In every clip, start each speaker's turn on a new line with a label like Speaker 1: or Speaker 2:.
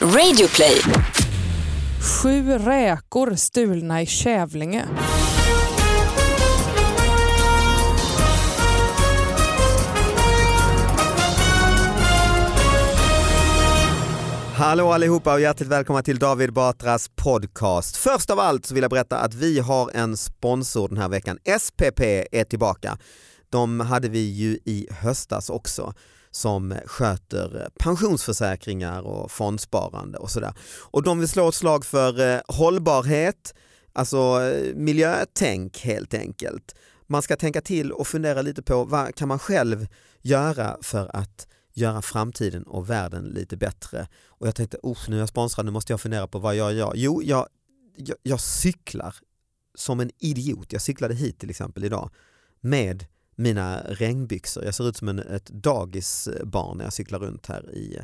Speaker 1: Radioplay.
Speaker 2: Sju räkor stulna i Kävlinge.
Speaker 3: Hallå allihopa och hjärtligt välkomna till David Batras podcast. Först av allt så vill jag berätta att vi har en sponsor den här veckan. SPP är tillbaka. De hade vi ju i höstas också som sköter pensionsförsäkringar och fondsparande och sådär. Och de vill slå ett slag för eh, hållbarhet, alltså eh, miljötänk helt enkelt. Man ska tänka till och fundera lite på vad kan man själv göra för att göra framtiden och världen lite bättre. Och jag tänkte, oh, nu är jag sponsrad, nu måste jag fundera på vad jag gör. Jo, jag, jag, jag cyklar som en idiot. Jag cyklade hit till exempel idag med mina regnbyxor. Jag ser ut som en, ett dagisbarn när jag cyklar runt här i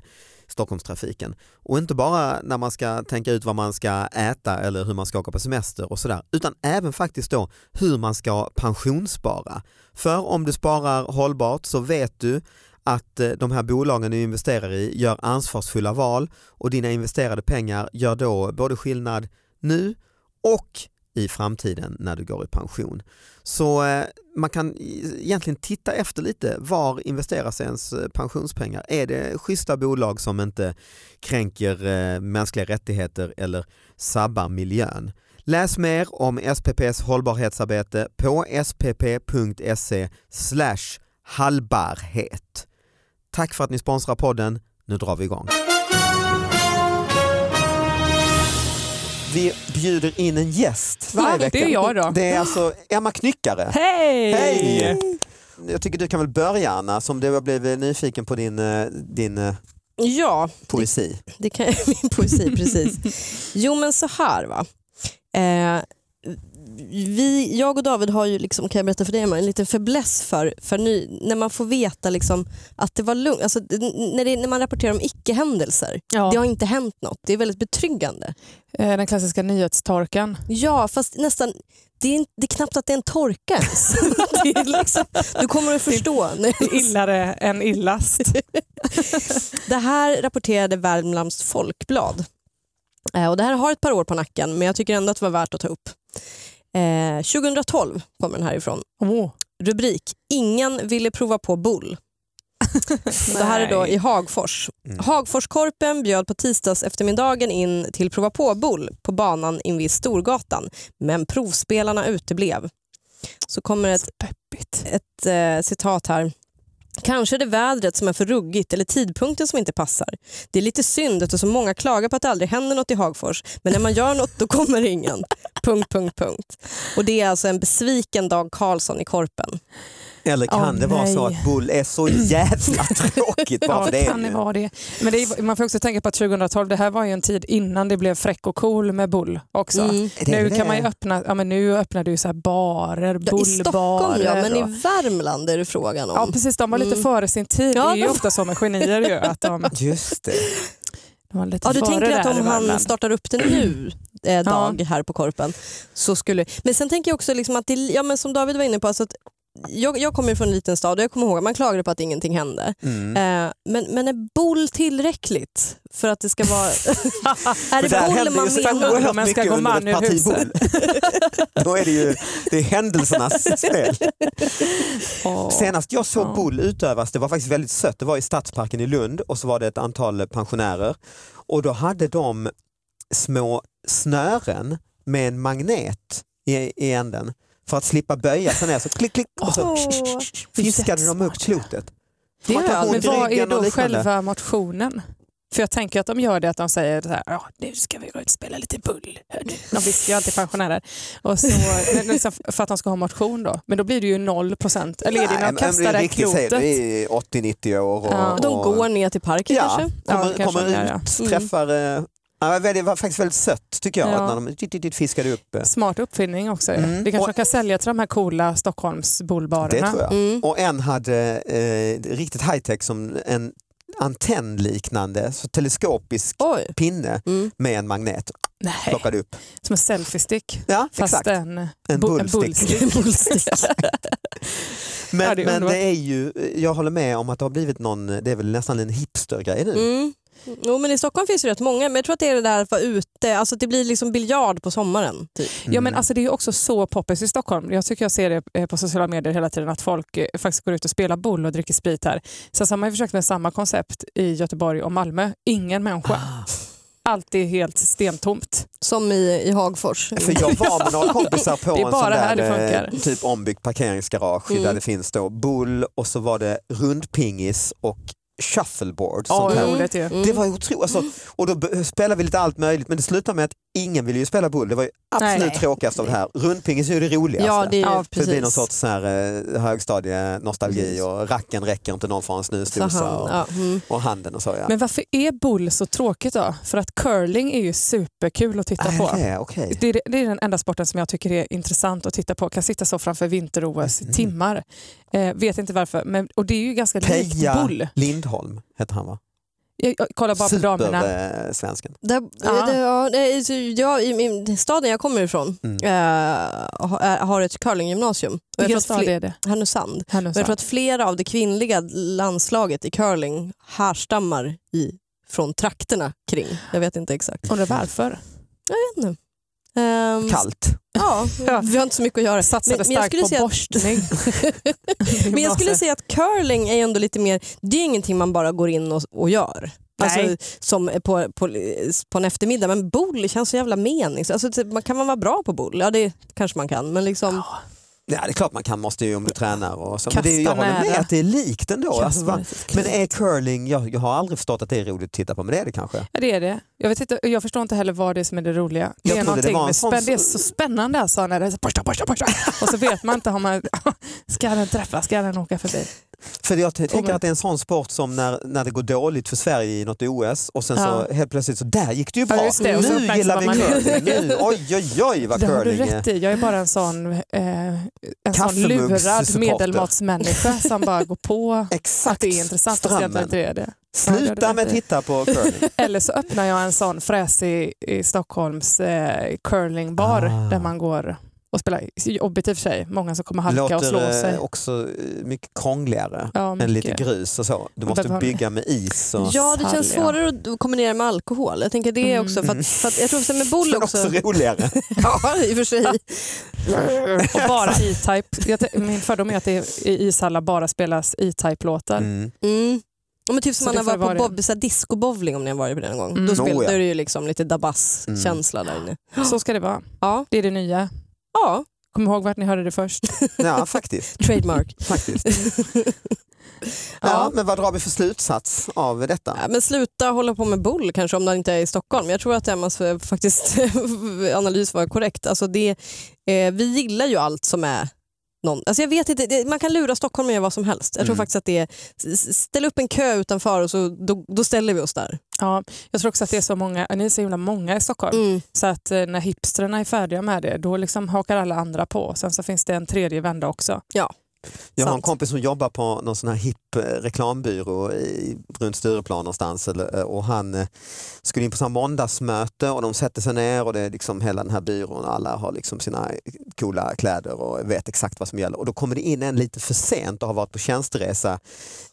Speaker 3: Stockholmstrafiken. Och inte bara när man ska tänka ut vad man ska äta eller hur man ska åka på semester och sådär, utan även faktiskt då hur man ska pensionsspara. För om du sparar hållbart så vet du att eh, de här bolagen du investerar i gör ansvarsfulla val och dina investerade pengar gör då både skillnad nu och i framtiden när du går i pension. Så eh, man kan i- egentligen titta efter lite var investeras ens eh, pensionspengar? Är det schyssta bolag som inte kränker eh, mänskliga rättigheter eller sabbar miljön? Läs mer om SPPs hållbarhetsarbete på spp.se E hallbarhet. Tack för att ni sponsrar podden. Nu drar vi igång. Vi bjuder in en gäst
Speaker 2: Va?
Speaker 3: varje vecka.
Speaker 2: Det är jag då.
Speaker 3: Det är alltså Emma Knyckare.
Speaker 2: Hej!
Speaker 3: Hej! Jag tycker du kan väl börja Anna, som du har blivit nyfiken på din, eh, din eh,
Speaker 4: Ja,
Speaker 3: poesi.
Speaker 4: det kan min poesi precis. Jo men så här va. Eh, vi, jag och David har ju, liksom, kan jag berätta för dig Emma, en liten fäbless för, för ny, när man får veta liksom, att det var lugnt. Alltså, det- när, det, när man rapporterar om icke-händelser.
Speaker 2: Ja.
Speaker 4: Det har inte hänt något. Det är väldigt betryggande.
Speaker 2: Eh, Den klassiska nyhetstorkan.
Speaker 4: Ja, fast nästan, det är, in- det är knappt att det är en torka ens. det är liksom, du kommer att förstå.
Speaker 2: Illare än illast.
Speaker 4: Det här rapporterade Värmlands Folkblad. Eh, och det här har ett par år på nacken men jag tycker ändå att det var värt att ta upp. Eh, 2012 kommer den härifrån.
Speaker 2: Oh.
Speaker 4: Rubrik Ingen ville prova på bull. Det här är då i Hagfors.
Speaker 3: Mm.
Speaker 4: Hagforskorpen bjöd på tisdags eftermiddagen in till prova på bull på banan invid Storgatan men provspelarna uteblev. Så kommer ett
Speaker 2: Peppigt.
Speaker 4: ett eh, citat här. Kanske är det vädret som är för ruggigt eller tidpunkten som inte passar. Det är lite synd eftersom många klagar på att det aldrig händer något i Hagfors men när man gör något då kommer ingen. punkt, punkt, punkt. Och det är alltså en besviken Dag Karlsson i Korpen.
Speaker 3: Eller
Speaker 2: Åh,
Speaker 3: kan det vara
Speaker 2: nej.
Speaker 3: så att bull är så jävla tråkigt bara
Speaker 2: Ja,
Speaker 3: för
Speaker 2: det
Speaker 3: det?
Speaker 2: kan det vara det. Men det är, man får också tänka på att 2012, det här var ju en tid innan det blev fräck och cool med bull också.
Speaker 4: Mm.
Speaker 3: Är det
Speaker 2: Nu
Speaker 3: det?
Speaker 2: kan man ju öppna, ja, men nu öppnar du ju så här barer,
Speaker 4: Ja, I
Speaker 2: bullbarer.
Speaker 4: Stockholm ja, men i
Speaker 2: och-
Speaker 4: Värmland är det frågan om.
Speaker 2: Ja precis, de var lite
Speaker 4: Mm.
Speaker 2: före sin tid. det
Speaker 4: Ja,
Speaker 2: är ju
Speaker 4: de-
Speaker 2: ofta så med genier ju, att de,
Speaker 3: Just det.
Speaker 2: de var lite
Speaker 4: Ja, du
Speaker 2: före
Speaker 4: tänker att
Speaker 2: där i
Speaker 4: om han
Speaker 2: Värmland.
Speaker 4: startar upp det nu, eh, Dag, här på Korpen, så skulle... Men sen tänker jag också liksom att, det, ja, men som David var inne på, alltså att jag, jag kommer från en liten stad och jag kommer ihåg att man klagade på att ingenting hände.
Speaker 3: Mm.
Speaker 4: Eh, men, men är boll tillräckligt för att det ska vara... är
Speaker 3: För där
Speaker 4: det
Speaker 3: hände
Speaker 4: boll man
Speaker 3: ju så
Speaker 4: menar?
Speaker 3: oerhört
Speaker 2: Men ska
Speaker 3: mycket
Speaker 2: gå
Speaker 3: under
Speaker 2: man ur
Speaker 3: ett parti
Speaker 2: huset?
Speaker 3: bull. Då är det ju det är händelsernas spel.
Speaker 2: Åh.
Speaker 3: Senast jag såg
Speaker 2: Ja.
Speaker 3: bull utövas, det var faktiskt väldigt sött, det var i Stadsparken i Lund och så var det ett antal pensionärer och då hade de små snören med en magnet i, i änden för att slippa böja sig ner så klick klick och så
Speaker 4: Åh.
Speaker 3: fiskade de upp klotet.
Speaker 2: Det
Speaker 3: Man kan
Speaker 2: gör
Speaker 3: få
Speaker 2: men
Speaker 3: ont i
Speaker 2: vad är
Speaker 3: ryggen och
Speaker 2: då
Speaker 3: liknande.
Speaker 2: själva motionen? För jag tänker att de gör det att de säger så här, ja nu ska vi gå ut och spela lite bull. här nu." De viskar ju alltid pensionärer. Och så, men liksom för att de ska ha motion då. Men då blir det ju noll procent. Eller är det när
Speaker 3: Nej,
Speaker 2: de
Speaker 3: men
Speaker 2: kastar det här
Speaker 3: riktigt säger
Speaker 2: klotet?
Speaker 3: det, det är 80-90 år. Och,
Speaker 2: Ja.
Speaker 4: De
Speaker 3: och-
Speaker 4: går ner till parken
Speaker 3: ja,
Speaker 4: kanske?
Speaker 2: Ja,
Speaker 3: Kommer,
Speaker 2: kanske
Speaker 3: kommer
Speaker 2: de gör,
Speaker 3: ut, träffar... eh, ja, det var väldigt- det var faktiskt väldigt sött tycker jag,
Speaker 2: Ja.
Speaker 3: att när de dit, dit, dit, fiskade upp. eh,
Speaker 2: Smart uppfinning också. ju.
Speaker 3: Mm.
Speaker 2: Det kanske de
Speaker 3: Och-
Speaker 2: kan sälja till de här coola Stockholms
Speaker 3: Det
Speaker 2: bullbarerna.
Speaker 3: tror jag.
Speaker 4: Mm.
Speaker 3: Och en hade eh, riktigt high tech som en antennliknande, så teleskopisk
Speaker 4: Oj.
Speaker 3: pinne
Speaker 4: Mm.
Speaker 3: med en magnet
Speaker 2: Nej,
Speaker 3: plockade upp.
Speaker 2: som en selfiestick.
Speaker 3: Ja,
Speaker 2: Fast
Speaker 3: exakt.
Speaker 2: en,
Speaker 3: En
Speaker 2: bu-
Speaker 3: bullstick.
Speaker 4: Bullstick.
Speaker 3: Men,
Speaker 2: Ja, det är
Speaker 3: men
Speaker 2: underbart.
Speaker 3: det är ju, jag håller med om att det har blivit någon, det är väl nästan en hipstergrej nu.
Speaker 4: Mm. Jo, men I Stockholm finns ju rätt många, men jag tror att det är det där att vara ute, alltså att det blir liksom biljard på sommaren. Typ.
Speaker 2: Ja, men alltså, det är ju också så poppis i Stockholm. Jag tycker jag ser det eh, på sociala medier hela tiden att folk eh, faktiskt går ut och spelar boll och dricker sprit här. Sen så har man ju försökt med samma koncept i Göteborg och Malmö. Ingen
Speaker 3: Mm.
Speaker 2: människa. Allt är helt stentomt.
Speaker 4: Som i, i Hagfors.
Speaker 3: Ah, För jag var med några kompisar på
Speaker 2: Det är
Speaker 3: en sån
Speaker 2: bara här det
Speaker 3: där
Speaker 2: funkar. Mm.
Speaker 3: eh, typ ombyggd parkeringsgarage där det finns då bull och så var det rundpingis och shuffleboard.
Speaker 2: Ja,
Speaker 3: sånt här.
Speaker 2: roligt ju.
Speaker 4: Mm.
Speaker 3: Det var otroligt. Alltså, och då b- spelade vi lite allt möjligt men det slutade med att ingen ville ju spela bull. Det var ju absolut
Speaker 2: Nej.
Speaker 3: tråkigast av det här. Rundpingis är ju det roligaste.
Speaker 4: Ja, det är
Speaker 2: Ja,
Speaker 3: För det blir någon
Speaker 4: precis.
Speaker 3: sorts så här, eh, högstadienostalgi
Speaker 4: Precis.
Speaker 3: och racken räcker inte någon får en
Speaker 4: Så
Speaker 3: snusdosa
Speaker 4: han,
Speaker 3: och,
Speaker 4: ja, mm.
Speaker 3: och handen och så. Ja.
Speaker 2: Men varför är boll så tråkigt då? För att curling är ju superkul att titta
Speaker 3: Ah,
Speaker 2: på.
Speaker 3: det är okej.
Speaker 2: Det är, det är den enda sporten som jag tycker är intressant att titta på. Kan sitta så framför vinter-OS i
Speaker 3: Mm.
Speaker 2: timmar. Eh, vet inte varför. Men, och det är ju ganska likt
Speaker 3: Peja
Speaker 2: boll.
Speaker 3: Lindholm heter han va?
Speaker 2: Jag, jag kollar bara på damerna.
Speaker 3: Supersvensken.
Speaker 4: Där,
Speaker 2: Ja.
Speaker 4: det, ja, nej, så jag, i, min- staden jag kommer ifrån
Speaker 3: Mm.
Speaker 4: eh, har, har ett curlinggymnasium. Och jag tror
Speaker 2: Vilken
Speaker 4: att
Speaker 2: stad
Speaker 4: fle-
Speaker 2: är det?
Speaker 4: Härnösand. Men jag
Speaker 2: Härnösand.
Speaker 4: tror att flera av det kvinnliga landslaget i curling härstammar i, från trakterna kring. Jag vet inte exakt.
Speaker 2: Undrar varför.
Speaker 4: Jag vet inte. Ehm,
Speaker 3: Kallt.
Speaker 4: Ja, vi har inte så mycket att göra.
Speaker 2: Satsade
Speaker 4: Men- men jag
Speaker 2: starkt
Speaker 4: skulle
Speaker 2: på
Speaker 4: säga att-
Speaker 2: borstning.
Speaker 4: Men jag skulle säga att curling är ju ändå lite mer, det är ingenting man bara går in och, och gör.
Speaker 2: Nej.
Speaker 4: Alltså som på, på, på en eftermiddag, men boule känns så jävla meningslöst. Alltså, typ, man- kan man vara bra på boule? Ja det kanske man kan, men liksom...
Speaker 2: Ja,
Speaker 3: Ja, det är klart man kan, måste ju om du tränar och så. Men det är, jag
Speaker 2: Kasta
Speaker 3: håller med
Speaker 2: nära.
Speaker 3: att det är likt ändå.
Speaker 2: kasta
Speaker 3: Alltså, va-
Speaker 2: lite skit.
Speaker 3: men är curling, jag, jag har aldrig förstått att det är roligt att titta på, men det är det kanske.
Speaker 2: Ja, det är det. Jag, vet inte, jag förstår inte heller vad det är som är det roliga. Det
Speaker 3: Jag
Speaker 2: är,
Speaker 3: trodde det
Speaker 2: någonting
Speaker 3: var
Speaker 2: med spänn,
Speaker 3: en sån-
Speaker 2: det är så spännande alltså, när det är så borsta, borsta, borsta. och så vet man inte om man ska den träffa, ska den åka förbi.
Speaker 3: För jag t- tänker
Speaker 2: men-
Speaker 3: att det är en sån sport som när, när det går dåligt för Sverige i något OS och sen
Speaker 2: Ja.
Speaker 3: så helt plötsligt så där gick det ju
Speaker 2: Ja,
Speaker 3: bra.
Speaker 2: just det, och så
Speaker 3: nu gillar vi
Speaker 2: uppmärksammar man
Speaker 3: curling. Nu, oj oj oj vad
Speaker 2: Det har du
Speaker 3: curling
Speaker 2: rätt
Speaker 3: är.
Speaker 2: i. Jag är bara en sån, eh, en sån lurad
Speaker 3: Kaffemuggs-supporter.
Speaker 2: medelmatsmänniska som bara går på att
Speaker 3: Exakt.
Speaker 2: det är intressant och ser att det
Speaker 3: Strömmen.
Speaker 2: inte är det. Ja, det
Speaker 3: Sluta
Speaker 2: har du
Speaker 3: med
Speaker 2: rätt
Speaker 3: att
Speaker 2: i.
Speaker 3: titta på curling.
Speaker 2: Eller så öppnar jag en sån fräsig i Stockholms eh, curlingbar
Speaker 3: Ah.
Speaker 2: där man går och spelar. Jobbigt i och för sig, många som kommer halka och slå
Speaker 3: Låter
Speaker 2: sig.
Speaker 3: eh, också eh, mycket krångligare
Speaker 2: Ja,
Speaker 3: än lite
Speaker 2: mycket.
Speaker 3: grus och så. Du
Speaker 2: Och
Speaker 3: måste
Speaker 2: behöver-
Speaker 3: bygga med is. Och...
Speaker 4: Ja, det känns
Speaker 2: Härliga.
Speaker 4: svårare att kombinera med alkohol. Jag tänker det
Speaker 2: Mm.
Speaker 4: också. För att, för att jag tror att med boule
Speaker 3: Men
Speaker 4: också...
Speaker 3: också roligare.
Speaker 4: ja, i och för sig.
Speaker 2: Och bara E-Type. Jag t- Min fördom är att det i ishallar bara spelas E-Type-låtar.
Speaker 3: Mm.
Speaker 4: Mm. Ja, Men typ som
Speaker 2: Så
Speaker 4: man
Speaker 2: det
Speaker 4: har
Speaker 2: får
Speaker 4: varit på
Speaker 2: vara det.
Speaker 4: bob, så här discobowling om ni har varit på det någon gång.
Speaker 2: Mm.
Speaker 4: Då,
Speaker 3: Oh,
Speaker 4: spel,
Speaker 3: ja.
Speaker 4: då är det ju liksom lite dabas-känsla där inne.
Speaker 2: Så ska det vara.
Speaker 4: Ja,
Speaker 2: Det är det nya.
Speaker 4: ja,
Speaker 2: Kom ihåg vart ni hörde det först.
Speaker 3: Ja, faktiskt.
Speaker 4: trademark.
Speaker 3: faktiskt. Ja,
Speaker 4: Ja.
Speaker 3: Men vad drar vi för slutsats av detta?
Speaker 4: Ja, Men sluta hålla på med bull kanske om det inte är i Stockholm. Jag tror att Emmas eh, faktiskt analys var korrekt. Alltså det, eh, vi gillar ju allt som är någon. Alltså jag vet inte, det, man kan lura Stockholm med vad som helst. Jag tror
Speaker 3: Mm.
Speaker 4: faktiskt att det är, s- s- ställ upp en kö utanför och så, då, då ställer vi oss där.
Speaker 2: Ja, jag tror också att det är så många, ni är så himla många i Stockholm.
Speaker 4: Mm.
Speaker 2: Så att eh, när hipstrarna är färdiga med det, då liksom hakar alla andra på. Sen så finns det en tredje vända också.
Speaker 3: Jag har en
Speaker 4: sant.
Speaker 3: kompis som jobbar på någon sån här hipp eh, reklambyrå i, runt Stureplan någonstans eller, eh, och han eh, skulle in på sån här måndagsmöte och de sätter sig ner och det är liksom hela den här byrån alla har liksom sina coola kläder och vet exakt vad som gäller och då kommer det in en lite för sent och har varit på tjänsteresa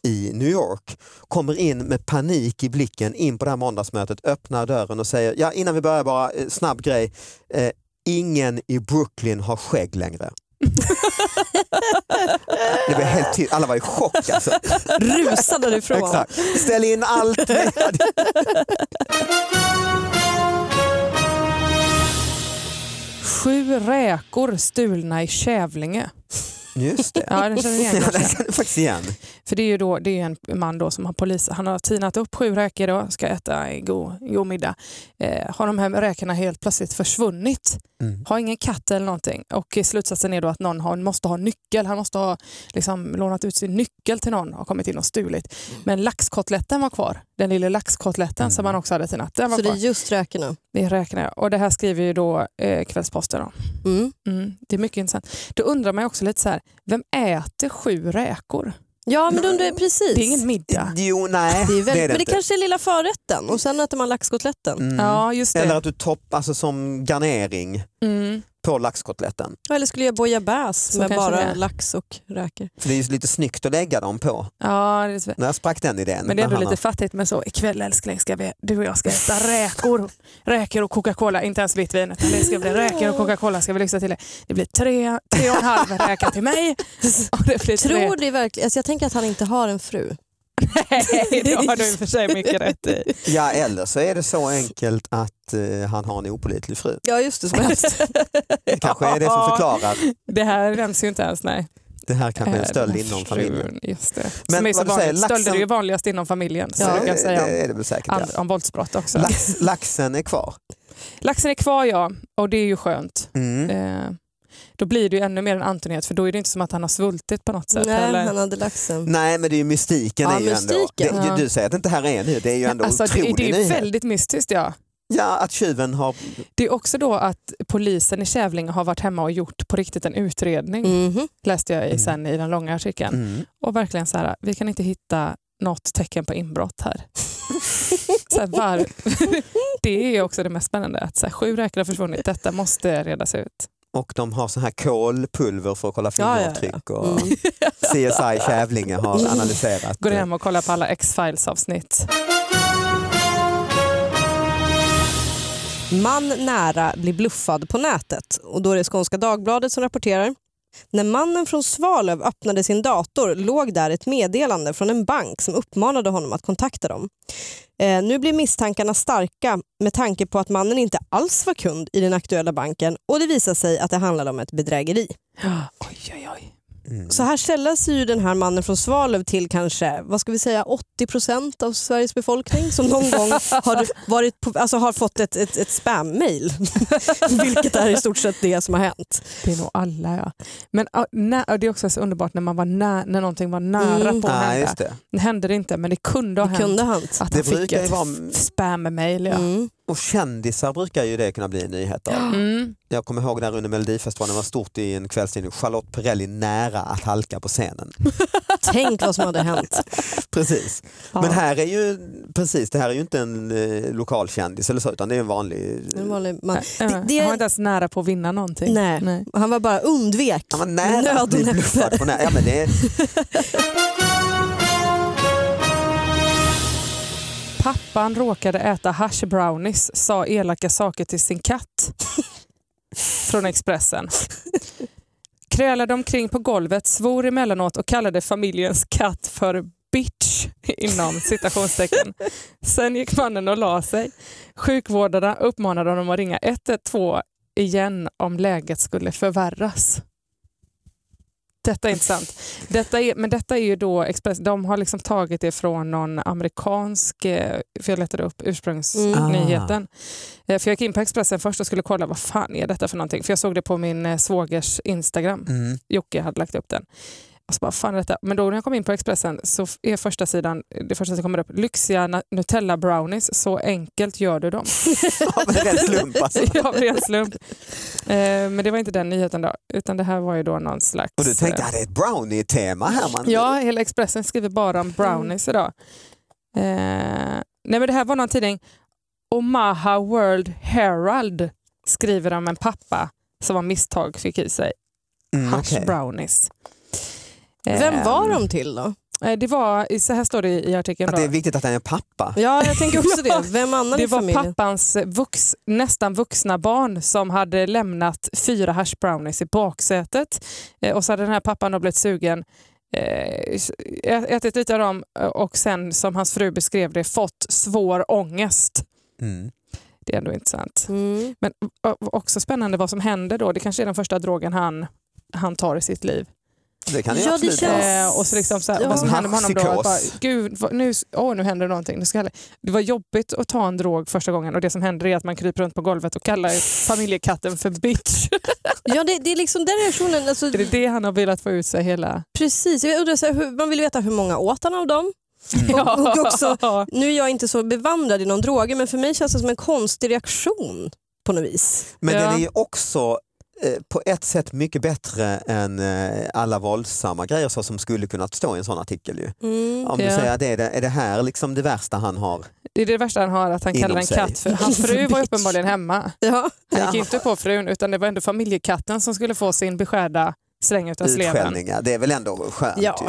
Speaker 3: i New York. Kommer in med panik i blicken in på det här måndagsmötet, öppnar dörren och säger ja innan vi börjar bara eh, snabb grej. Eh, Ingen i Brooklyn har skägg längre. Det blev helt tyst. Alla var i chock alltså.
Speaker 4: Rusa därifrån.
Speaker 3: Exakt. Ställ in allt.
Speaker 2: Sju räkor stulna i Kävlinge.
Speaker 3: Just det.
Speaker 2: Ja, den känner ni igen
Speaker 3: Ja,
Speaker 2: kanske.
Speaker 3: det känner jag faktiskt igen.
Speaker 2: För det är ju då, det är en man då som har polis, han har tinat upp sju räkor och ska äta en god, god middag. Eh, har de här räkorna helt plötsligt försvunnit?
Speaker 3: Mm.
Speaker 2: Har ingen katt eller någonting. Och eh, slutsatsen är då att någon har, måste ha nyckel. Han måste ha liksom, lånat ut sin nyckel till någon och kommit in och stulit. Men laxkotletten var kvar. Den lilla laxkotletten som
Speaker 3: Mm.
Speaker 2: han också hade tinat. Den var
Speaker 4: Så det är
Speaker 2: kvar.
Speaker 4: just räkorna.
Speaker 2: Det räknar jag. Och det här skriver ju då eh, Kvällsposten om.
Speaker 4: Mm.
Speaker 2: Mm, det är mycket intressant. Då undrar man ju också lite så här, vem äter sju räkor?
Speaker 4: Ja men undrar, precis.
Speaker 2: Det är ingen middag.
Speaker 3: Jo, nej.
Speaker 4: Det är väldigt, men det
Speaker 3: inte.
Speaker 4: kanske är lilla förrätten och sen äter man laxkotletten.
Speaker 3: Mm.
Speaker 2: Ja, just det.
Speaker 3: Eller att du toppar alltså, som garnering.
Speaker 2: Mm.
Speaker 3: på laxkotletten.
Speaker 4: Eller skulle jag bouillabaisse
Speaker 2: Så
Speaker 4: med
Speaker 2: kanske
Speaker 4: bara
Speaker 2: det är.
Speaker 4: lax och räkor?
Speaker 3: För det är ju lite snyggt att lägga dem på.
Speaker 2: Ja, det är...
Speaker 3: När jag sprack den idén.
Speaker 2: Men det är ändå
Speaker 3: när han
Speaker 2: lite fattigt men så ikväll älskling ska vi, du och jag ska äta räkor, räkor och Coca-Cola, inte ens vitt vin utan det ska bli räkor och Coca-Cola ska vi lyxa till det. Det blir tre, tre och en halv räka till mig och det blir tre
Speaker 4: Tror du verkligen? Alltså jag tänker att han inte har en fru.
Speaker 2: Nej, det har du i och för sig mycket rätt i.
Speaker 3: har- Ja, eller så är det så enkelt att eh, han har en opålitlig fru.
Speaker 4: Ja just det, som helst.
Speaker 3: Det kanske är det som förklarar.
Speaker 2: Det här nämns ju inte ens. Nej.
Speaker 3: Det här kanske är en stöld
Speaker 2: Eh,
Speaker 3: inom
Speaker 2: frun,
Speaker 3: familjen.
Speaker 2: Just det.
Speaker 3: Men
Speaker 2: Som är så
Speaker 3: vad du säger,
Speaker 2: vanligt. Stölder
Speaker 3: laxen-
Speaker 2: är ju vanligast inom familjen. Så
Speaker 4: Ja,
Speaker 2: du kan
Speaker 3: det
Speaker 2: säga
Speaker 3: är det väl säkert.
Speaker 2: om,
Speaker 3: Ja.
Speaker 2: and- om våldsbrott också.
Speaker 3: Lax, laxen är kvar.
Speaker 2: Laxen är kvar ja, och det är ju skönt.
Speaker 3: Mm.
Speaker 2: Eh, då blir det ju ännu mer en Antoniet för då är det inte som att han har svultit på något sätt.
Speaker 4: Nej,
Speaker 2: eller?
Speaker 4: han hade laxen.
Speaker 3: Nej men det är ju mystiken.
Speaker 4: Ja,
Speaker 3: är ju
Speaker 4: mystiken.
Speaker 3: Ändå. Det,
Speaker 2: Ja.
Speaker 3: du, du säger att det inte här är en nyhet, det är ju ändå
Speaker 2: Alltså, det,
Speaker 3: otrolig
Speaker 2: det är ju
Speaker 3: nyhet.
Speaker 2: väldigt mystiskt ja.
Speaker 3: Ja, att tjuven har...
Speaker 2: Det är också då att polisen i Kävlinge har varit hemma och gjort på riktigt en utredning
Speaker 4: Mhm.
Speaker 2: läste jag
Speaker 3: Mm.
Speaker 2: i, sen i den långa artikeln.
Speaker 3: Mm.
Speaker 2: och verkligen så här, vi kan inte hitta något tecken på inbrott här. så här var, det är också det mest spännande, att så här, sju räkor har försvunnit, detta måste redas ut.
Speaker 3: Och de har så här kolpulver för att kolla
Speaker 4: Ja, ja, ja.
Speaker 3: fingeravtryck. Och
Speaker 4: Mm.
Speaker 3: CSI Kävlinge har analyserat.
Speaker 2: Går
Speaker 3: eh,
Speaker 2: hem och kollar på alla X-Files avsnitt.
Speaker 4: Man nära blir bluffad på nätet och då är det Skånska Dagbladet som rapporterar. När mannen från Svalöv öppnade sin dator låg där ett meddelande från en bank som uppmanade honom att kontakta dem. Eh, nu blir misstankarna starka med tanke på att mannen inte alls var kund i den aktuella banken och det visar sig att det handlade om ett bedrägeri.
Speaker 2: Oj, oj, oj.
Speaker 3: Mm.
Speaker 4: Så här sällas ju den här mannen från Svalöv till kanske vad ska vi säga, 80 procent av Sveriges befolkning som någon gång har, varit på, alltså har fått ett, ett, ett spam-mail. Alltså, Vilket är i stort sett det som har hänt.
Speaker 2: Det är nog alla ja. Men ja, nä- ja, det är också så underbart när, man var nä- när någonting var nära
Speaker 4: Mm.
Speaker 2: på att
Speaker 3: Nej,
Speaker 2: hända.
Speaker 3: just det.
Speaker 2: Det hände det inte men det kunde ha
Speaker 4: Det
Speaker 2: hänt.
Speaker 4: kunde ha hänt.
Speaker 2: Att
Speaker 3: Det
Speaker 2: han fick
Speaker 3: brukar ju
Speaker 2: ett
Speaker 3: vara-
Speaker 2: f- spam-mail. Ja.
Speaker 4: Mm.
Speaker 3: Och kändisar brukar ju det kunna bli en nyhet av.
Speaker 2: Mm.
Speaker 3: Jag kommer ihåg när under Melodifestivalen var stort i en kvällstidning, Charlotte Perrelli nära att halka på scenen.
Speaker 4: Tänk vad som hade hänt.
Speaker 3: Precis.
Speaker 2: Ja.
Speaker 3: Men här är ju, precis, det här är ju inte en eh, lokal kändis eller så, utan det är en vanlig...
Speaker 4: En vanlig man.
Speaker 2: det,
Speaker 4: det är-
Speaker 2: Han var inte ens nära på att vinna någonting.
Speaker 4: Nej. Han var bara undvek.
Speaker 3: Han var nära att bli
Speaker 4: Nödnäppe.
Speaker 3: bluffad på nära. Ja, men det är,
Speaker 2: Pappan råkade äta hash brownies, sa elaka saker till sin katt. Från Expressen. Krälade omkring på golvet, svor emellanåt och kallade familjens katt för bitch inom citationstecken. Sen gick mannen och la sig. Sjukvårdarna uppmanade honom att ringa 112 igen om läget skulle förvärras. Detta är intressant. Detta är, men detta är ju då Express, de har liksom tagit det från någon amerikansk, eh, för jag letade upp ursprungsnyheten. Eh, För jag gick in på Expressen först och skulle kolla vad fan är detta för någonting. För jag såg det på min eh, svågers Instagram.
Speaker 3: mm.
Speaker 2: Jocke hade lagt upp den. Och så bara, fan är detta? Men då när jag kom in på Expressen så är första sidan, det första som kommer upp, lyxiga na- Nutella brownies, så enkelt gör du dem.
Speaker 3: ja, men det är en slump alltså.
Speaker 2: Av ren slump. Eh, men det var inte den nyheten då, utan det här var ju då någon slags...
Speaker 3: Och du tänkte
Speaker 2: eh,
Speaker 3: att det är ett brownie-tema här. Man.
Speaker 2: Ja, hela Expressen skriver bara om brownies idag. Eh, nej men det här var någon tidning, Omaha World Herald skriver om en pappa som av misstag fick i sig
Speaker 3: Mm,
Speaker 2: hash
Speaker 3: okej.
Speaker 2: brownies.
Speaker 4: Vem var
Speaker 2: Ehm,
Speaker 4: de till då?
Speaker 2: eh, Det var, så här står det i artikeln.
Speaker 3: Att det är
Speaker 2: då.
Speaker 3: viktigt att han är pappa.
Speaker 4: Ja, jag tänker också det. Vem annan
Speaker 2: Det
Speaker 4: i
Speaker 2: var
Speaker 4: familjen?
Speaker 2: pappans vux, nästan vuxna barn som hade lämnat fyra hash brownies i baksätet eh, och så hade den här pappan då blivit sugen eh, ä- ätit lite av dem eh, och sen som hans fru beskrev det fått svår ångest.
Speaker 3: Mm.
Speaker 2: Det är ändå intressant.
Speaker 4: Mm.
Speaker 2: Men o- också spännande vad som händer då. Det kanske är den första drogen han, han tar i sitt liv.
Speaker 3: Det kan det
Speaker 4: Ja,
Speaker 3: ju
Speaker 4: det
Speaker 3: absolut
Speaker 4: känns-
Speaker 3: vara.
Speaker 2: Eh, och så liksom så här,
Speaker 4: Ja.
Speaker 2: vad som hände med honom då. Att bara,
Speaker 3: Haschpsykos.
Speaker 2: Gud, vad, nu, åh, nu händer det någonting. Nu ska jag, det var jobbigt att ta en drog första gången och det som händer är att man kryper runt på golvet och kallar familjekatten för bitch.
Speaker 4: Ja, det, det är liksom den reaktionen. Alltså,
Speaker 2: är det det han har velat få ut sig hela...
Speaker 4: Precis, jag undrar, så här, hur, man vill veta hur många åt han av dem.
Speaker 3: Mm.
Speaker 4: Och, och också, nu är jag inte så bevandrad i någon droger men för mig känns det som en konstig reaktion på något vis.
Speaker 3: Men
Speaker 2: Ja.
Speaker 3: den är ju också eh, på ett sätt mycket bättre än eh, alla våldsamma grejer så som skulle kunna stå i en sån artikel. Ju.
Speaker 4: Mm.
Speaker 3: Om du
Speaker 2: Ja.
Speaker 3: säger att det är det, är det här liksom det värsta han har.
Speaker 2: Det är det värsta han har, att han
Speaker 3: Inom
Speaker 2: kallar en
Speaker 3: sig.
Speaker 2: katt för... Hans fru var uppenbarligen hemma.
Speaker 4: Ja.
Speaker 2: Han gick
Speaker 3: Ja.
Speaker 2: inte på frun, utan det var ändå familjekatten som skulle få sin beskärda släng utav sleven.
Speaker 3: Utskällningar, det är väl ändå skönt.
Speaker 4: Ja.
Speaker 3: Ju.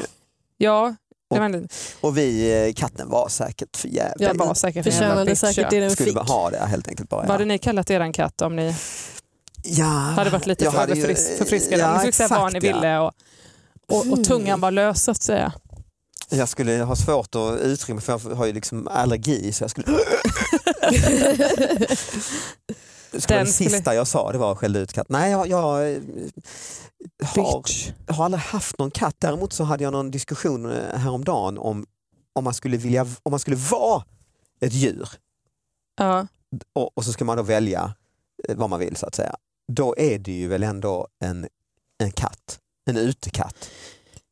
Speaker 2: Ja, det
Speaker 3: Och-
Speaker 2: var en,
Speaker 3: Och vi, eh, katten var säkert för jävla.
Speaker 2: jag var säkert en jävla
Speaker 4: Förtjänade
Speaker 2: bitch.
Speaker 4: säkert
Speaker 2: ja.
Speaker 4: det den
Speaker 3: skulle
Speaker 4: fick.
Speaker 3: bara ha det helt enkelt. bara.
Speaker 2: Vad
Speaker 3: Ja.
Speaker 2: hade ni kallat eran katt om ni
Speaker 3: Ja.
Speaker 2: hade varit lite
Speaker 3: jag
Speaker 2: för
Speaker 3: hade ju-
Speaker 2: överfris- förfriskade?
Speaker 3: Ja,
Speaker 2: ni fick säga vad ni
Speaker 3: exakt, ja. Mm.
Speaker 2: ville och, och, och tungan var lös så att säga.
Speaker 3: Jag skulle ha svårt att uttrycka mig för jag har ju liksom allergi så jag skulle... Det skulle vara det
Speaker 2: skulle-
Speaker 3: sista jag sa det var att skälla ut katt. Nej, jag, jag eh, har,
Speaker 2: Bitch.
Speaker 3: har aldrig haft någon katt. Däremot så hade jag någon diskussion eh, häromdagen om, om, man, skulle vilja, om man skulle vara ett djur
Speaker 2: Ja.
Speaker 3: och, och så ska man då välja eh, vad man vill så att säga. Då är det ju väl ändå en, en katt. En utekatt.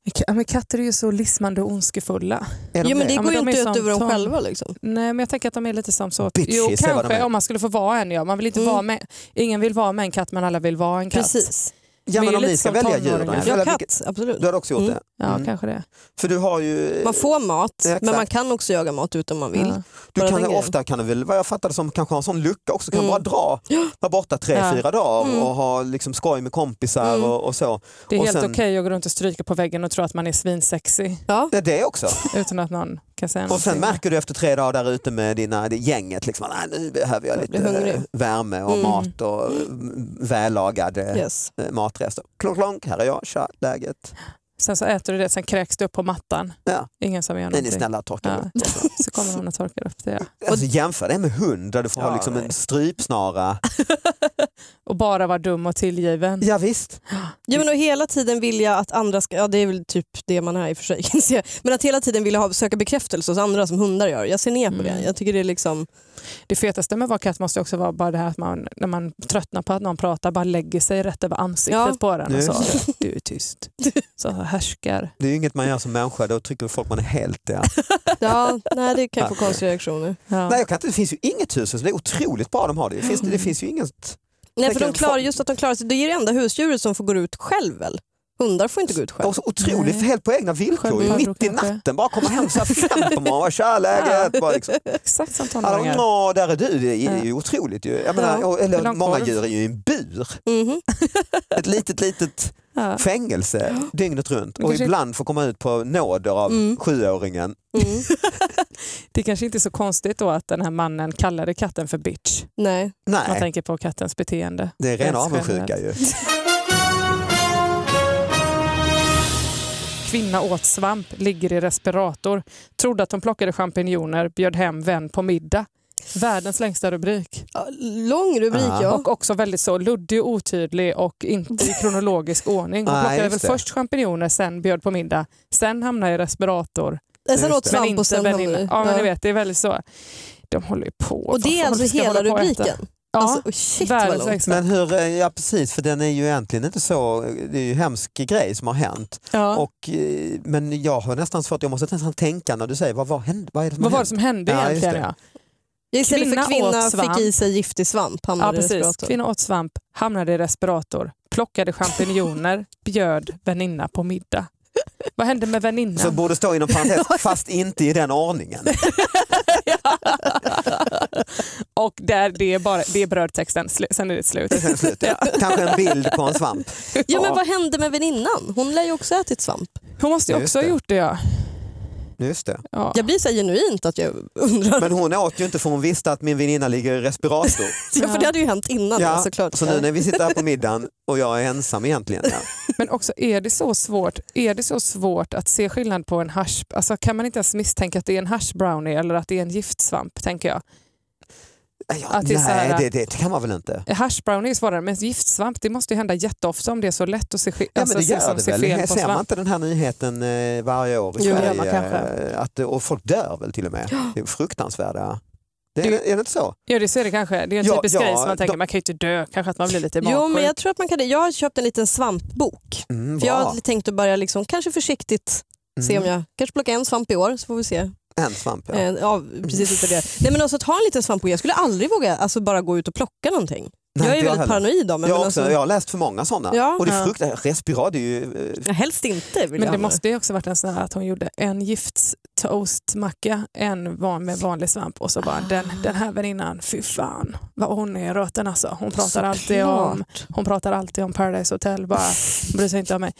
Speaker 2: Ja, Men katter är ju så lismande och ondskefulla.
Speaker 3: Är de
Speaker 4: Jo men det
Speaker 2: Ja, men
Speaker 4: går ju
Speaker 2: de är
Speaker 4: inte ut
Speaker 2: som
Speaker 4: över dem
Speaker 2: Tom.
Speaker 4: själva. Liksom.
Speaker 2: Nej men jag tänker att de är lite som så.
Speaker 3: Bitches,
Speaker 2: jo
Speaker 3: det är vad de
Speaker 2: kanske
Speaker 3: är.
Speaker 2: om man skulle få vara en ja. Man vill inte
Speaker 4: Mm.
Speaker 2: vara med. Ingen vill vara med en katt men alla vill vara en katt.
Speaker 4: Precis.
Speaker 3: Ja
Speaker 2: Men
Speaker 3: men
Speaker 2: det är
Speaker 3: om ni
Speaker 2: lite
Speaker 3: ska
Speaker 2: som
Speaker 3: välja djur då?
Speaker 2: tonåringar.
Speaker 4: Ja,
Speaker 3: Eller vilket-
Speaker 4: Alltså, katt, absolut.
Speaker 3: Du hade också gjort
Speaker 4: Mm.
Speaker 3: det?
Speaker 2: Ja
Speaker 3: Mm.
Speaker 2: kanske det.
Speaker 3: För du har ju...
Speaker 4: Man får mat,
Speaker 3: Exakt.
Speaker 4: men man kan också jaga mat utan man vill.
Speaker 2: Ja.
Speaker 3: Du
Speaker 4: Bara
Speaker 3: kan,
Speaker 4: den grejen.
Speaker 3: ofta kan du väl, vad jag fattade som, kanske ha en sån lucka också, kan
Speaker 4: Mm.
Speaker 3: bara dra, vara borta tre,
Speaker 2: Ja.
Speaker 3: fyra dagar
Speaker 4: Mm.
Speaker 3: och ha liksom skoj med kompisar
Speaker 4: Mm.
Speaker 3: och, och så.
Speaker 2: Det är
Speaker 3: Och
Speaker 2: helt
Speaker 3: sen-
Speaker 2: okej att gå runt och stryka på väggen och tro att man är svinsexig
Speaker 4: Ja.
Speaker 3: Det är det också.
Speaker 2: utan att någon kan säga
Speaker 3: Och sen
Speaker 2: någonting.
Speaker 3: märker du efter tre dagar där ute med dina, det gänget, liksom, "Nej, nu behöver jag
Speaker 4: Jag
Speaker 3: lite
Speaker 4: blir hungrig."
Speaker 3: värme och
Speaker 4: Mm.
Speaker 3: mat och mm, vällagade
Speaker 4: Yes.
Speaker 3: eh, matrester. Klonk, klonk, här är jag, tja, läget.
Speaker 2: Sen så äter du det, sen kräks du upp på mattan.
Speaker 3: Ja.
Speaker 2: Ingen som gör
Speaker 3: Nej, ni är
Speaker 2: någonting.
Speaker 3: snälla, torka
Speaker 2: Ja.
Speaker 3: upp.
Speaker 2: Så kommer någon och torkar upp det. Ja.
Speaker 3: Alltså, jämför det med hund där du får ha
Speaker 4: Ja,
Speaker 3: liksom en
Speaker 4: nej.
Speaker 3: strypsnara.
Speaker 2: Och bara vara dum och tillgiven.
Speaker 3: Ja, visst.
Speaker 4: Ja, men och hela tiden vilja att andra ska, ja det är väl typ det man är i och för sig, kan jag säga. men att hela tiden vilja ha, söka bekräftelse hos andra som hundar gör. Jag ser ner på det.
Speaker 2: Mm.
Speaker 4: Jag tycker det är liksom,
Speaker 2: Det fetaste med att vara katt måste också vara bara det här att man, när man tröttnar på att någon pratar, bara lägger sig rätt över ansiktet
Speaker 4: Ja.
Speaker 2: på den och
Speaker 3: Just
Speaker 2: så. Du är tyst. Så härskar.
Speaker 3: Det är ju inget man gör som människa, då tycker folk man är helt ja.
Speaker 4: ja, nej det kan
Speaker 3: Ja.
Speaker 4: få konstiga reaktioner.
Speaker 2: Ja.
Speaker 3: Nej, jag kan inte, det finns ju inget hus, det är otroligt bra de har det. Det finns, det finns ju inget...
Speaker 4: Nej
Speaker 3: Tänker
Speaker 4: för de
Speaker 3: jag,
Speaker 4: klarar
Speaker 3: fan.
Speaker 4: just att de klarar sig, det är det enda husdjuret som får gå ut själv väl? Hundar får inte gå ut
Speaker 3: De
Speaker 4: själv.
Speaker 3: är så otroligt,
Speaker 2: Nej.
Speaker 3: helt på egna villkor. ju.
Speaker 2: Sköldpaddor
Speaker 3: Mitt i
Speaker 2: kanske.
Speaker 3: natten, bara komma hem så här fem på morgonen, tja läget. Bara liksom.
Speaker 2: Exakt som
Speaker 3: Alla,
Speaker 2: tonåringar.
Speaker 3: "Nå, där är du, det är ju otroligt ju. Jag menar,
Speaker 4: Ja.
Speaker 3: och-
Speaker 2: Vill
Speaker 3: eller,
Speaker 2: ha en
Speaker 3: många
Speaker 2: korv?
Speaker 3: djur är ju i en bur,
Speaker 4: Mhm.
Speaker 3: ett litet litet
Speaker 2: Ja.
Speaker 3: fängelse dygnet runt
Speaker 2: Men
Speaker 3: och
Speaker 2: kanske-
Speaker 3: ibland får komma ut på nåder av
Speaker 4: Mm.
Speaker 3: sjuåringen.
Speaker 4: Mm.
Speaker 2: Det kanske inte är så konstigt då att den här mannen kallade katten för bitch.
Speaker 4: Nej.
Speaker 2: Man
Speaker 3: Nej,
Speaker 2: tänker på kattens beteende.
Speaker 3: det är ren
Speaker 2: Rent
Speaker 3: avundsjuka ju.
Speaker 2: generellt. Kvinna åt svamp, ligger i respirator. Trodde att hon plockade champinjoner, bjöd hem vän på middag. Världens längsta rubrik.
Speaker 4: Ja, Lång rubrik
Speaker 3: Ja.
Speaker 4: ja.
Speaker 2: Och också väldigt så luddig och otydlig och inte i kronologisk ordning. Hon
Speaker 3: Nej,
Speaker 2: plockade väl
Speaker 3: just det.
Speaker 2: först champinjoner, sen bjöd på middag, sen hamnade i respirator.
Speaker 4: Nej, Sen
Speaker 3: Just
Speaker 4: åt
Speaker 3: det.
Speaker 2: Men
Speaker 4: svamp och
Speaker 2: inte
Speaker 4: sen
Speaker 2: väl
Speaker 4: hamnade
Speaker 2: innan.
Speaker 4: vi-
Speaker 2: Ja, men ni
Speaker 4: Ja.
Speaker 2: vet, det är väldigt så. De håller ju på.
Speaker 4: Och det är
Speaker 2: Varför
Speaker 4: alltså
Speaker 2: ska jag
Speaker 4: hela
Speaker 2: hålla på och äta?
Speaker 4: rubriken?
Speaker 2: Ja,
Speaker 4: Alltså, oh, shit vad
Speaker 2: världens
Speaker 4: långt.
Speaker 2: längsta.
Speaker 3: Men hur, eh, ja precis, för den är ju egentligen inte så, det är ju en hemsk grej som har hänt.
Speaker 2: Ja.
Speaker 3: Och, eh, men jag har nästan svårt, jag måste nästan tänka när du säger vad, vad, hände, vad är det som
Speaker 2: Vad
Speaker 3: har
Speaker 2: var det
Speaker 3: hänt?
Speaker 2: som hände
Speaker 3: Ja, just
Speaker 2: egentligen? Ja.
Speaker 3: det.
Speaker 4: Ja, Istället
Speaker 2: Kvinna
Speaker 4: för kvinna
Speaker 2: åt svamp.
Speaker 4: fick i sig giftig svamp
Speaker 2: Ja,
Speaker 4: hamnade i
Speaker 2: precis.
Speaker 4: respirator.
Speaker 2: Kvinna åt svamp, hamnade i respirator, plockade champinjoner, bjöd väninna på middag. Vad hände med väninnan?
Speaker 3: Så borde stå inom parentes, fast inte i den ordningen.
Speaker 2: Och där det är, bara, det är brödtexten, Slu- sen är det slut.
Speaker 3: Sen slut, ja. Kanske en bild på en svamp.
Speaker 4: Ja men vad hände med väninnan? Hon lär ju också ha ätit svamp.
Speaker 2: Hon måste ju
Speaker 3: Just
Speaker 2: också ha
Speaker 3: det.
Speaker 2: gjort det ja.
Speaker 3: Just det.
Speaker 2: ja.
Speaker 4: Jag blir så här genuint att jag undrar.
Speaker 3: Men hon åt ju inte för hon visste att min väninna ligger i respirator.
Speaker 4: Ja, för det hade ju hänt innan
Speaker 3: Ja, alltså,
Speaker 4: ja, såklart.
Speaker 3: Så nu när vi sitter här på middagen och jag är ensam egentligen. Ja.
Speaker 2: Men också är det, så svårt, är det så svårt att se skillnad på en hash... Alltså, kan man inte ens misstänka att det är en hash brownie eller att det är en giftsvamp? tänker jag.
Speaker 3: Nej, Jag,
Speaker 2: Att det är så
Speaker 3: nej,
Speaker 2: här-
Speaker 3: det, det kan man väl inte?
Speaker 2: En Hash brownie är svårare, men giftsvamp det måste ju hända jätteofta om det är så lätt att se, sk-
Speaker 3: Ja, men
Speaker 2: alltså,
Speaker 3: det
Speaker 2: se,
Speaker 3: gör
Speaker 2: som
Speaker 3: det
Speaker 2: ser
Speaker 3: väl.
Speaker 2: fel på
Speaker 3: Ser man
Speaker 2: svamp.
Speaker 3: inte den här nyheten eh, varje år
Speaker 2: Jo,
Speaker 3: i
Speaker 2: det gör
Speaker 3: Sverige?
Speaker 2: man kanske.
Speaker 3: eh, Att, och folk dör väl till och med. Det är fruktansvärda. Det, är,
Speaker 2: Det-
Speaker 3: är det inte så?
Speaker 2: Ja, det ser det kanske. Det är en
Speaker 3: Ja,
Speaker 2: typisk
Speaker 3: ja,
Speaker 2: grej som man tänker,
Speaker 3: de-
Speaker 2: man kan ju inte dö, kanske att man blir lite magsjuk.
Speaker 4: Jo, men jag tror att man kan det. Jag har köpt en liten svampbok.
Speaker 3: Mm,
Speaker 4: För jag
Speaker 3: bra.
Speaker 4: har tänkt att börja liksom, kanske försiktigt se om
Speaker 3: Mm.
Speaker 4: jag kanske plocka en svamp i år så får vi se.
Speaker 3: En svamp
Speaker 2: Eh,
Speaker 3: ja.
Speaker 4: Ja. Eh, ja, precis lite det. Nej, men alltså, att ha en liten svampbok. Jag skulle aldrig våga alltså, bara gå ut och plocka någonting.
Speaker 3: Nej,
Speaker 4: jag är
Speaker 3: inte
Speaker 4: väldigt
Speaker 3: heller.
Speaker 4: paranoid om det,
Speaker 3: Jag,
Speaker 4: men
Speaker 3: också,
Speaker 4: alltså-
Speaker 3: jag har läst för många sådana.
Speaker 4: Ja.
Speaker 3: och det är
Speaker 2: Ja.
Speaker 3: fruktansvärt. Respirad är ju... eh,
Speaker 4: Ja, helst inte vill
Speaker 2: Men
Speaker 4: jag
Speaker 2: det
Speaker 4: ha.
Speaker 2: måste ju också varit en sån här att hon gjorde en gifttoastmacka, en van med vanlig svamp och så bara
Speaker 4: Ah.
Speaker 2: den, den här väninnan, fy fan vad hon är i röten alltså. Hon pratar, alltid om,
Speaker 4: Såklart.
Speaker 2: hon pratar alltid om Paradise Hotel, bara hon bryr sig inte om mig.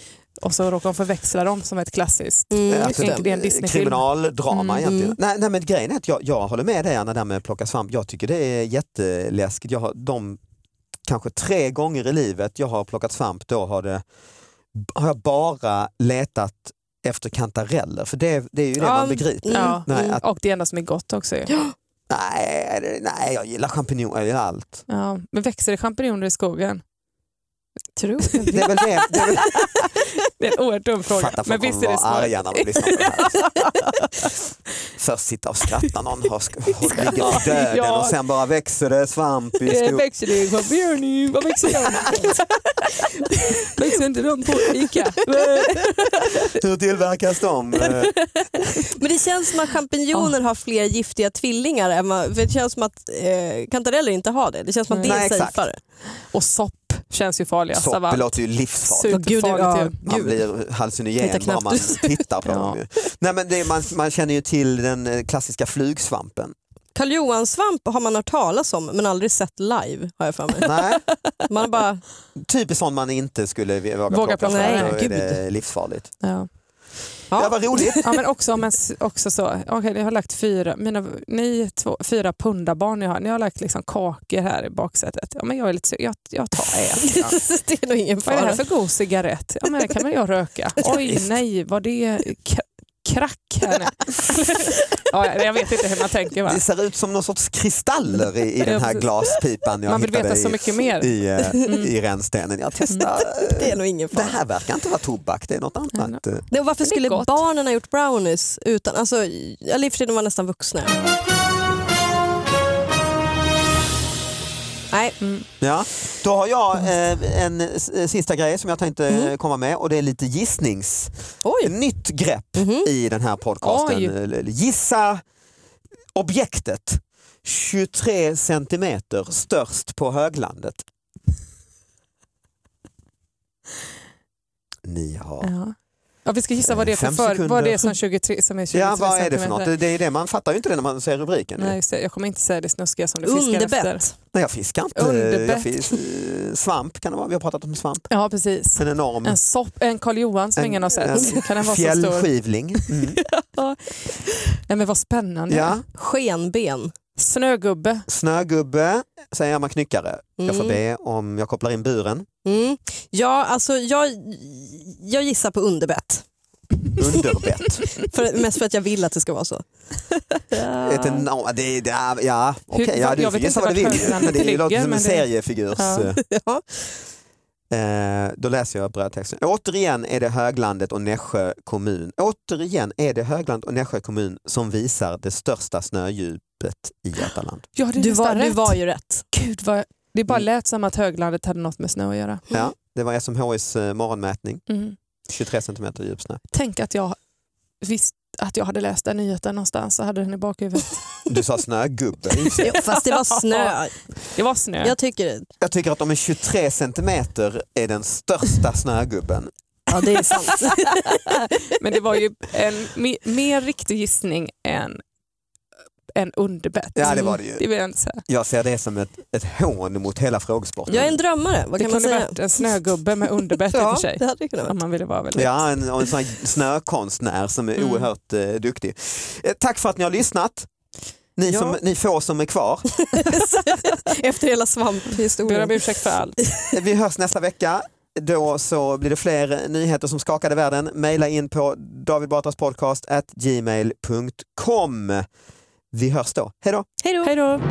Speaker 2: Och så råkar hon förväxla dem som ett klassiskt.
Speaker 4: Mm,
Speaker 3: alltså,
Speaker 4: just
Speaker 2: det är en Disney-film.
Speaker 3: kriminaldrama
Speaker 2: Mm.
Speaker 3: egentligen.
Speaker 4: Mm.
Speaker 3: Nej, nej men grejen är att jag, jag håller med dig Anna där med att plocka svamp. Jag tycker det är jätteläskigt. Jag har de kanske tre gånger i livet jag har plockat svamp då har, det, har jag bara letat efter kantareller för det, det är ju det
Speaker 2: Ja,
Speaker 3: man begriper.
Speaker 4: Mm,
Speaker 2: Ja.
Speaker 3: Nej,
Speaker 4: mm.
Speaker 3: att,
Speaker 2: Och det enda som är gott också. ju.
Speaker 3: nej, det- nej, jag gillar champinjoner, jag gillar allt.
Speaker 2: Ja. Men växer det champinjoner i skogen? Tror
Speaker 3: Det är väl det, det är väl,
Speaker 2: Det är en oerhört dum fråga.
Speaker 3: Fattar
Speaker 2: Men
Speaker 3: folk
Speaker 2: visst
Speaker 3: kommer
Speaker 2: är det
Speaker 3: vara
Speaker 2: smart.
Speaker 3: arga när de lyssnar på det här. Först sitta och skratta, någon har, sk- ligger för döden
Speaker 2: Ja.
Speaker 3: och sen bara växer det svamp i
Speaker 2: Eh,
Speaker 3: skogen.
Speaker 2: Växer det champinjoner? Vad växer de? växer inte de på Ica?
Speaker 3: Hur tillverkas de? Eh,
Speaker 4: Men det känns som att champinjoner har fler giftiga tvillingar. Än vad, för det känns som att eh, kantareller inte har det. Det känns som att det
Speaker 3: Nej,
Speaker 4: är
Speaker 3: exakt.
Speaker 4: safeare.
Speaker 2: Och sopp känns ju farligast av
Speaker 3: Sopp
Speaker 2: allt.
Speaker 3: låter ju livsfarligt.
Speaker 2: Super-
Speaker 4: Gud, det-
Speaker 2: farligt
Speaker 4: ja,
Speaker 2: ju.
Speaker 3: Man
Speaker 4: gud.
Speaker 3: blir
Speaker 4: Hittar
Speaker 3: hallucinogen bara
Speaker 4: knappt
Speaker 3: man
Speaker 4: ut.
Speaker 3: tittar på
Speaker 2: Ja.
Speaker 3: dem. Ju. Nej, men det, man, man känner ju till den eh, klassiska flugsvampen.
Speaker 4: Karl Johan-svamp har man hört talas om men aldrig sett live har jag för mig.
Speaker 3: Nej,
Speaker 4: Man har bara,
Speaker 3: typiskt sånt man inte skulle vi- våga,
Speaker 2: Våga
Speaker 3: plocka.
Speaker 2: plocka,
Speaker 3: för
Speaker 2: nej,
Speaker 3: då är
Speaker 4: gud.
Speaker 3: det livsfarligt.
Speaker 2: Ja.
Speaker 3: Ja,
Speaker 4: ja,
Speaker 3: vad roligt.
Speaker 2: ja men också, men s- också så, okej jag har lagt fyra, mina, ni två, fyra pundabarn ni har, ni har lagt liksom kakor här i baksätet. Ja men jag är lite sugen, jag, jag tar en. Ja.
Speaker 4: det är nog ingen
Speaker 2: Vad är det här
Speaker 4: fara.
Speaker 2: för god cigarett? Ja men det kan väl jag röka? Oj nej, var det k- krack här nu? ja, jag vet inte hur man tänker va?
Speaker 3: Det ser ut som någon sorts kristaller i, i
Speaker 2: Ja,
Speaker 3: den här
Speaker 2: precis.
Speaker 3: glaspipan jag
Speaker 2: Man vill
Speaker 3: hittade
Speaker 2: veta
Speaker 3: i,
Speaker 2: så mycket mer. Mm.
Speaker 3: i, eh, i rännstenen. Jag testar.
Speaker 4: Det är nog ingen
Speaker 3: Det
Speaker 4: fara.
Speaker 3: här verkar inte vara tobak, det är något annat. eh.
Speaker 4: Det, och varför
Speaker 2: Men det är
Speaker 4: skulle
Speaker 2: gott.
Speaker 4: barnen ha gjort brownies? Utan, alltså, eller i och för sig, de var nästan vuxna. Nej,
Speaker 2: mm,
Speaker 3: Ja. Då har jag eh, en s- sista grej som jag tänkte eh,
Speaker 4: Mm.
Speaker 3: komma med och det är lite gissnings.
Speaker 4: oj.
Speaker 3: Nytt grepp
Speaker 4: Mhm.
Speaker 3: i den här
Speaker 2: Mm. Oj.
Speaker 3: podcasten. Eller Gissa objektet. 23 centimeter störst på höglandet. Ni har...
Speaker 2: Ja. Ja, vi ska gissa vad det är för,
Speaker 3: Fem
Speaker 2: för
Speaker 3: sekunder.
Speaker 2: vad det är som 23 som är 23
Speaker 3: Ja, vad är det för
Speaker 2: centimeter.
Speaker 3: något? Det- Det är det man fattar ju inte det när man ser rubriken.
Speaker 2: Nej, just det. Jag kommer inte säga det snuskiga som du fiskar efter.
Speaker 4: Underbett.
Speaker 3: Nej, jag fiskar inte.
Speaker 2: Underbett.
Speaker 3: Jag fis, eh, svamp kan det vara. Vi har pratat om svamp.
Speaker 2: Ja, precis.
Speaker 3: En enorm
Speaker 2: En, sopp, en Karl Johan som
Speaker 3: Mm. En-
Speaker 2: ingen har sett.
Speaker 3: en
Speaker 2: kan den vara så stor?
Speaker 3: fjällskivling. Mm.
Speaker 2: Nej, men vad spännande.
Speaker 3: Ja.
Speaker 4: Skenben.
Speaker 2: Snögubbe.
Speaker 3: Snögubbe säger man knyckare. Jag får
Speaker 4: Mm.
Speaker 3: be om jag kopplar in buren.
Speaker 4: Mm. Ja, alltså jag, jag gissar på underbett.
Speaker 3: Underbett.
Speaker 4: För, mest för att jag vill att det ska vara så.
Speaker 3: Ett enorm, det, det, ja, okej,
Speaker 2: Hur-
Speaker 3: ja, du
Speaker 2: jag
Speaker 3: får
Speaker 2: vet
Speaker 3: gissa
Speaker 2: inte
Speaker 3: vad du
Speaker 2: vart
Speaker 3: vill.
Speaker 2: höglandet
Speaker 3: Men det
Speaker 2: ligger,
Speaker 3: låter som en
Speaker 2: men det-
Speaker 3: seriefigurs...
Speaker 2: Ja.
Speaker 4: Ja.
Speaker 3: Eh, då läser jag brödtexten. Återigen är det Höglandet och Nässjö kommun. Återigen är det Högland och Nässjö kommun som visar det största snödjupet i Götaland.
Speaker 2: Ja, det är
Speaker 4: Du,
Speaker 2: nästan
Speaker 4: var, du
Speaker 2: rätt.
Speaker 4: var ju rätt.
Speaker 2: Gud, vad... Det
Speaker 3: Mm.
Speaker 2: bara lät som att höglandet hade något med snö att göra.
Speaker 3: Ja, det var SMHIs eh, morgonmätning,
Speaker 2: Mm.
Speaker 3: 23 centimeter djup snö.
Speaker 2: Tänk att jag visste att jag hade läst den nyheten någonstans så hade den i bakhuvudet.
Speaker 3: Du sa snögubbe.
Speaker 4: Jo, fast det var snö.
Speaker 2: Det var snö.
Speaker 4: Jag tycker det.
Speaker 3: Jag tycker att de är 23 centimeter är den största snögubben.
Speaker 4: Ja, det är sant.
Speaker 2: Men det var ju en me- mer riktig gissning än en underbett.
Speaker 3: Ja, det var det ju.
Speaker 2: Det vill jag inte säga.
Speaker 3: Jag ser det som ett, ett hån mot hela frågesporten.
Speaker 4: Jag är en drömmare, vad
Speaker 2: Det
Speaker 4: kan man
Speaker 2: kunde
Speaker 4: säga?
Speaker 2: varit en snögubbe med underbett i och
Speaker 4: Ja,
Speaker 2: för sig.
Speaker 4: det hade det kunnat vara.
Speaker 2: Om man ville vara väldigt...
Speaker 3: Ja, en, och en sån här snökonstnär som är
Speaker 2: Mm.
Speaker 3: oerhört eh, duktig. Eh, tack för att ni har lyssnat. Ni,
Speaker 4: Ja.
Speaker 3: som, ni få som är kvar.
Speaker 4: Efter hela
Speaker 2: Ber om
Speaker 4: svamphistorien.
Speaker 2: ursäkt för allt.
Speaker 3: Eh, Vi hörs nästa vecka. Då så blir det fler nyheter som skakade världen. Maila in på davidbatraspodcast@gmail.com. Vi hörs då. Hej då!
Speaker 4: Hej då!
Speaker 2: Hej då!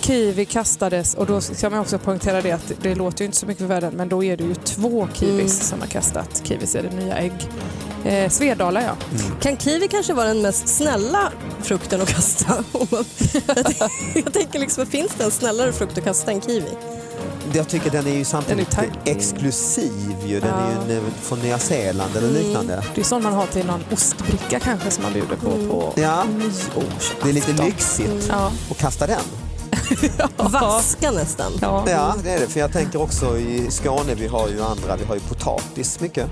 Speaker 2: Kiwi kastades och då ska man också poängtera det att det låter ju inte så mycket för världen men då är det ju två kiwis
Speaker 4: Mm.
Speaker 2: som har kastat. Kiwis är det nya ägg. Eh, Svedala ja.
Speaker 4: Kan kiwi kanske vara den mest snälla frukten att kasta? Om man- jag tänker liksom, finns det en snällare frukt att kasta än kiwi?
Speaker 3: jag tycker den är ju samtidigt
Speaker 2: Den är tight.
Speaker 3: exklusiv ju. Den är ju
Speaker 2: Ja.
Speaker 3: nu från Nya Zeeland eller
Speaker 4: Mm.
Speaker 3: liknande.
Speaker 2: Det är sån man har till någon ostbricka kanske som man bjuder på
Speaker 4: Mm.
Speaker 2: på
Speaker 3: Ja,
Speaker 2: nyårsafton.
Speaker 3: det är lite lyxigt.
Speaker 2: Ja.
Speaker 3: Och kasta den.
Speaker 4: Vaska nästan.
Speaker 2: Ja.
Speaker 3: Ja, det är det. För jag tänker också i Skåne, vi har ju andra, vi har ju potatis mycket.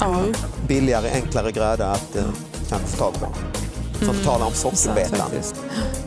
Speaker 2: Ja.
Speaker 3: Billigare, enklare gröda att eh, kanske få tag på. Som talar om
Speaker 2: Sant
Speaker 3: sockerbetan.
Speaker 2: Mm. faktiskt.